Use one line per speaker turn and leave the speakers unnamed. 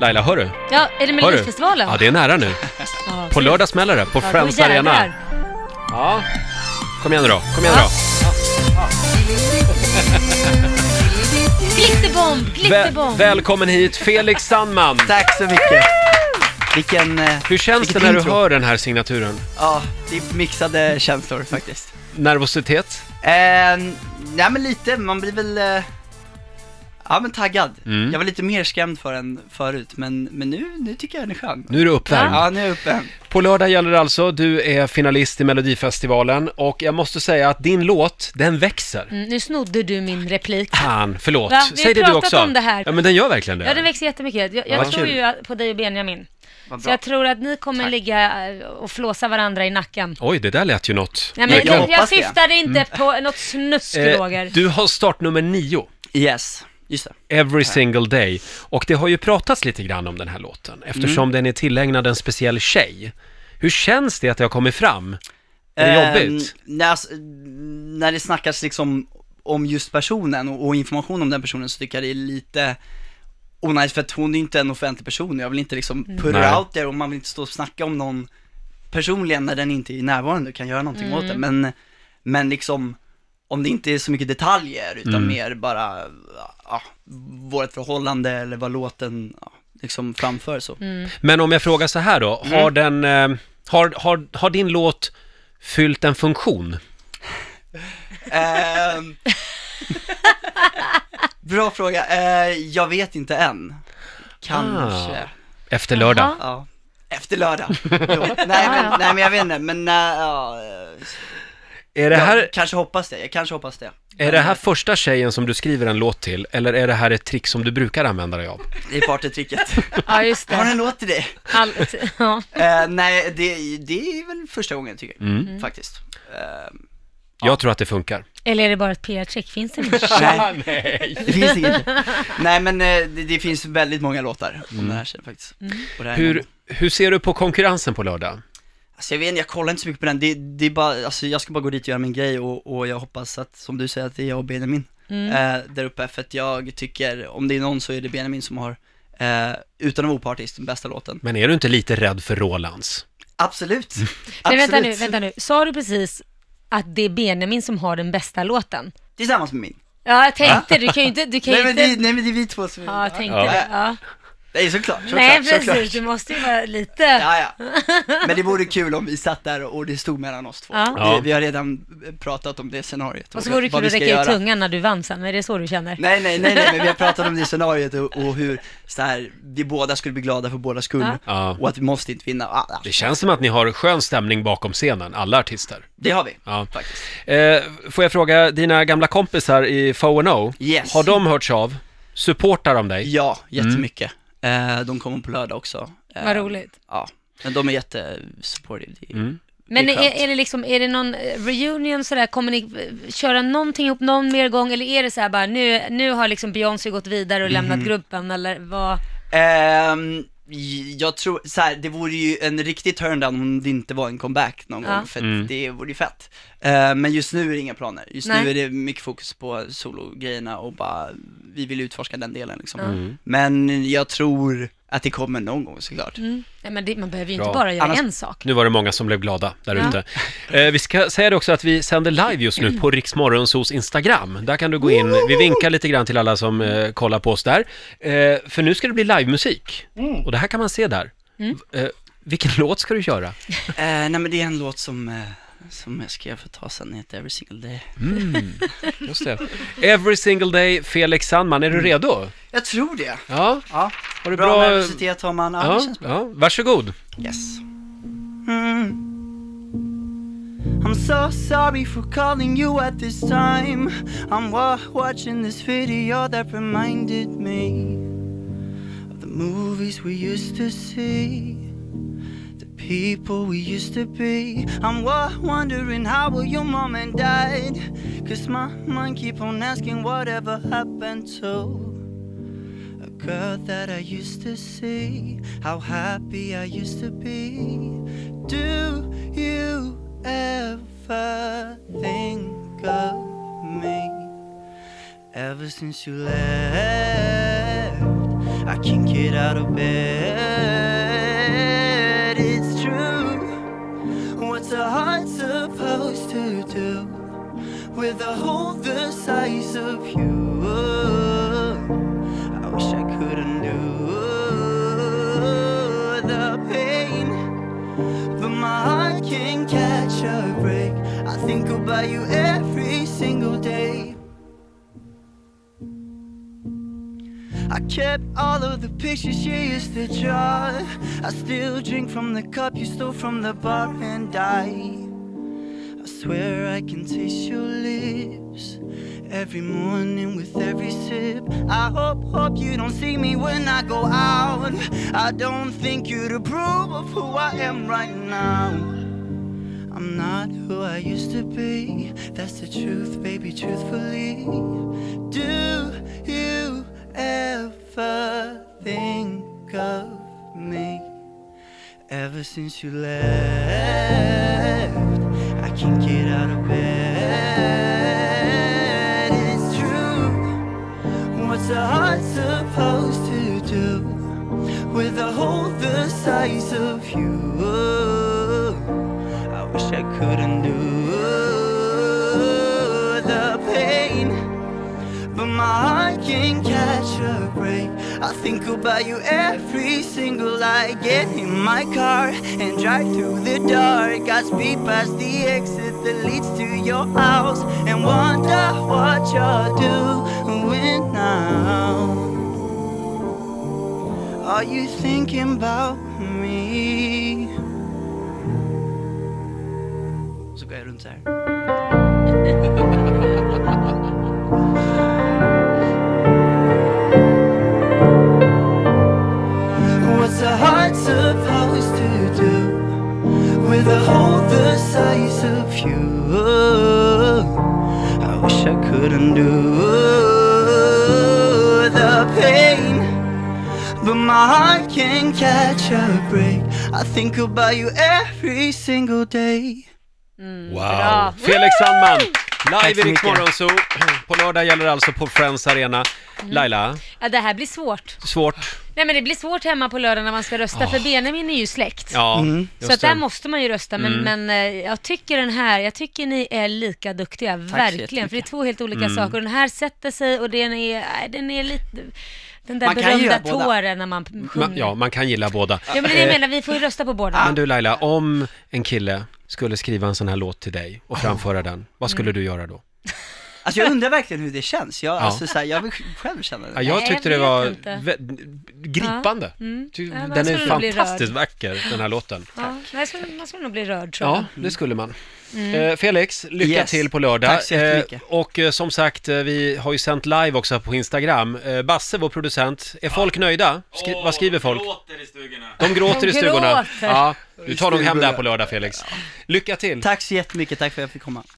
Laila, hör du?
Ja, är det
Hör du?
Melodifestivalen?
Ja, det är nära nu.
Ja,
På lördag smäller det, på
ja, då
Friends
jävlar.
Arena. Ja. Kom igen nu då, kom igen nu då.
Glitterbomb, glitterbomb.
Vä- välkommen hit, Felix Sandman.
Tack så mycket. Vilken... eh,
Hur känns det
vilket
när du
intro.
hör den här signaturen?
Ja, det är mixade känslor faktiskt.
Nervositet?
Eh, nej men lite, man blir väl... Eh, ja men taggad.
Mm.
Jag var lite mer skrämd för än förut, men, men nu, nu tycker jag den är skön.
Nu är du uppvärmd.
Ja, nu är jag uppe.
På lördag gäller det alltså, du är finalist i Melodifestivalen och jag måste säga att din låt, den växer.
Mm, nu snodde du min replik.
Fan, förlåt.
Va? Vi har
Säg det du
pratat
också.
om det här.
Ja, men den gör verkligen det.
Ja, den växer jättemycket. Jag, jag
Ja.
tror
Kul.
ju att- på dig och Benjamin.
Vad
Så
bra.
jag tror att ni kommer
Tack.
ligga eh, och flåsa varandra i nacken.
Oj, det där lät ju något.
Nej, men
Jag
jag, jag
hoppas det.
syftade inte på något snusk, Roger.
Eh, du har startnummer nio.
Yes, just det.
Every single day. Och det har ju pratats lite grann om den här låten eftersom den är tillägnad en speciell tjej. Hur känns det att det har kommit fram? Är det
Eh,
jobbigt?
när, alltså, när det snackas liksom om just personen och, och information om den personen så tycker jag det är lite onajs för att hon är inte en offentlig person. Jag vill inte liksom put
Nej.
her out there och man vill inte stå och snacka om någon personligen när den inte är närvarande och kan göra någonting åt det. Men, men liksom om det inte är så mycket detaljer utan
Mm.
mer bara ja, vårt förhållande eller vad låten ja, liksom framför så.
Men om jag frågar så här då, har, den, eh, har, har, har din låt fyllt en funktion?
Ehm, Bra fråga. Eh, jag vet inte än.
Ah.
Kanske.
Efter lördag.
Jaha.
Ja. Efter lördag. Jo. nej, men, nej, men jag vet inte. Men eh, ja, eh,
Är, det här,
jag kanske hoppas det. Jag kanske hoppas det.
är det här första tjejen som du skriver en låt till, eller är det här ett trick som du brukar använda dig av?
Det är partytricket.
Ja, just
Jag har
det.
en låt till dig.
All... Ja.
Eh, nej, det, det är väl första gången tycker jag.
Mm.
Faktiskt. Ehm,
Jag tror att det funkar.
Eller är det bara ett PR-trick? Finns det inte?
nej, det finns inget. Nej, men eh, det, det finns väldigt många låtar om den här tjejen faktiskt. Och det här är
Mm.
en av
Hur,
dem.
hur ser du på konkurrensen på lördag?
Alltså jag vet inte, jag kollar inte så mycket på den. Det, det är bara, alltså jag ska bara gå dit och göra min grej och, och jag hoppas att, som du säger, att det är jag och Benjamin
Mm.
eh, där uppe. För att jag tycker, om det är någon så är det Benjamin som har, eh, utan att vara opartisk, den bästa låten.
Men är du inte lite rädd för Rolands?
Absolut!
Men
Absolut.
vänta nu, vänta nu. Sa du precis att det är Benjamin som har den bästa låten?
Tillsammans med min.
Ja, jag tänkte Du kan ju inte... Du kan
Nej
ju
men, det,
inte...
nej men det är vi två som
Ja, jag tänkte
Ja.
det. Ja.
Nej såklart, såklart,
Nej,
såklart.
precis. Du måste ju vara lite...
Ja, ja. Men det vore kul om vi satt där och det stod mellan oss två.
Ja.
Ja.
Vi, vi har redan pratat om det scenariot.
Och så vore det
vad
kul
vi
att
ska
räcka ut
göra.
tungan när du vann sen, är det så du känner?
Nej, nej, nej, nej, men vi har pratat om det scenariot och, och hur så här, vi båda skulle bli glada för båda skull
Ja.
Ja.
och att vi måste inte vinna. Ah, ah,
Det känns som att ni har skön stämning bakom scenen, alla artister.
det har vi
Ja.
faktiskt.
Eh, får jag fråga, dina gamla kompisar i 4NO,
Yes.
har de hörts av? Supportar de dig?
Ja, jättemycket. Eh, de kommer på lördag också. Eh,
Vad roligt.
Ja, men de är jättesupportive. Det-
Men är,
det är skönt.
är, det liksom, är det någon eh, reunion sådär, kommer ni eh, köra någonting ihop någon mer gång eller är det så här bara nu, nu har liksom Beyoncé gått vidare och
Mhm.
lämnat gruppen eller vad?
Ehm, j- jag tror, så här, det vore ju en riktig turndown om det inte var en comeback någon
Ja.
gång, för att det vore ju fett. Eh, men just nu är det inga planer, just
Nej.
nu är det mycket fokus på sologrejerna och bara, vi vill utforska den delen liksom. Men jag tror att det kommer någon gång såklart.
Nej, men det, man behöver ju
Bra.
inte bara göra
Annars-
en sak.
Nu var det många som blev glada där ute. Eh, vi ska säga det också att vi sänder live just nu på Riksmorgonsos Instagram. Där kan du gå in, vi vinkar lite grann till alla som eh, kollar på oss där. Eh, för nu ska det bli livemusik,
Mm.
och det här kan man se där. Eh, vilken låt ska du köra?
Eh, nej men det är en låt som, eh, som jag skrev för ett tag sedan, den heter Every Single Day.
Just det. Every single day, Felix Sandman, är du redo?
Jag tror det.
Ja,
Ja.
har du
Mm. Bra,
bra...
nervositet har man, ja, det
Ja,
känns bra.
ja, varsågod.
Yes. Mm. I'm so sorry for calling you at this time. I'm wa- watching this video that reminded me of the movies we used to see, the people we used to be. I'm wa- wondering how will your mom and dad? Cause my mind keep on asking whatever happened to a girl that I used to see, how happy I used to be. Do you ever think of me? Ever since you left, I can't get out of bed. It's true. What's a heart supposed to do with a hole the size of you? I wish I could undo the pain. But my heart can't catch a break. I think about you every single day. I kept all of the pictures she used to draw. I still drink from the cup you stole from the bar and I. I swear I can taste your lips every morning with every sip. I hope, hope you don't see me when I go out. I don't think you'd approve of who I am right now. I'm not who I used to be. That's the truth, baby, truthfully. Do you ever think of me? Ever since you left, I can't get out of bed. It's true. What's a heart supposed to do with a hole the size of you? I wish I could undo the pain. But my heart can't catch a break. I think about you every single night. Get in my car and drive through the dark. I speed past the exit that leads to your house and wonder what you're doing now. Are you thinking about me? Så går jeg rundt her. What's a heart supposed to do with a hole the size of you? I wish I could undo the pain, but my heart can't catch a break. I think about you every single day.
Wow!
bra.
Felix Sandman, live i
så
Rix
mycket.
Morgonzoo. På lördag gäller det alltså på Friends Arena.
Mm.
Laila,
Ja, det här blir svårt.
svårt?
Nej men det blir svårt hemma på lördag när man ska
Ah.
rösta, för Benjamin är ju släkt.
Ja,
Mm. Så
just
att där
det.
måste man ju rösta, men,
Mm.
men eh, jag tycker den här, jag tycker ni är lika duktiga, verkligen. För det är två helt olika
Mm.
saker. Den här sätter sig och den är, nej, den är lite, den där
Man kan ju
berömda
göra båda.
tåren när man
Man,
sjunger.
ja,
Ja,
man kan gilla båda. Eh,
men det är det jag menar, vi får ju rösta på båda.
Men du Laila, om en kille skulle skriva en sån här låt till dig och framföra den, vad skulle
Mm.
du göra då?
Alltså jag undrar verkligen hur det känns. Jag,
Ja.
alltså, så här, jag vill själv känna det.
Ja, jag
Nej,
tyckte
jag
det
vet
var
inte.
vä- gripande. Ty-
Ja, man
Den är
skulle nog bli rörd.
fantastiskt vacker, den här låten.
Ja, nej, jag skulle- man skulle nog bli rörd tror jag.
Ja, det skulle man. Eh, Felix, lycka
Yes.
till på lördag.
Tack så jättemycket.
Eh, och eh, som sagt, eh, vi har ju sänt live också på Instagram. Eh, Basse, vår producent, är folk nöjda? Skri- vad skriver folk?
De gråter i stugorna.
De gråter
De
i stugorna.
gråter.
Ja, du tar nog hem det här på lördag, Felix. Lycka till!
Tack så jättemycket, tack för att jag fick komma.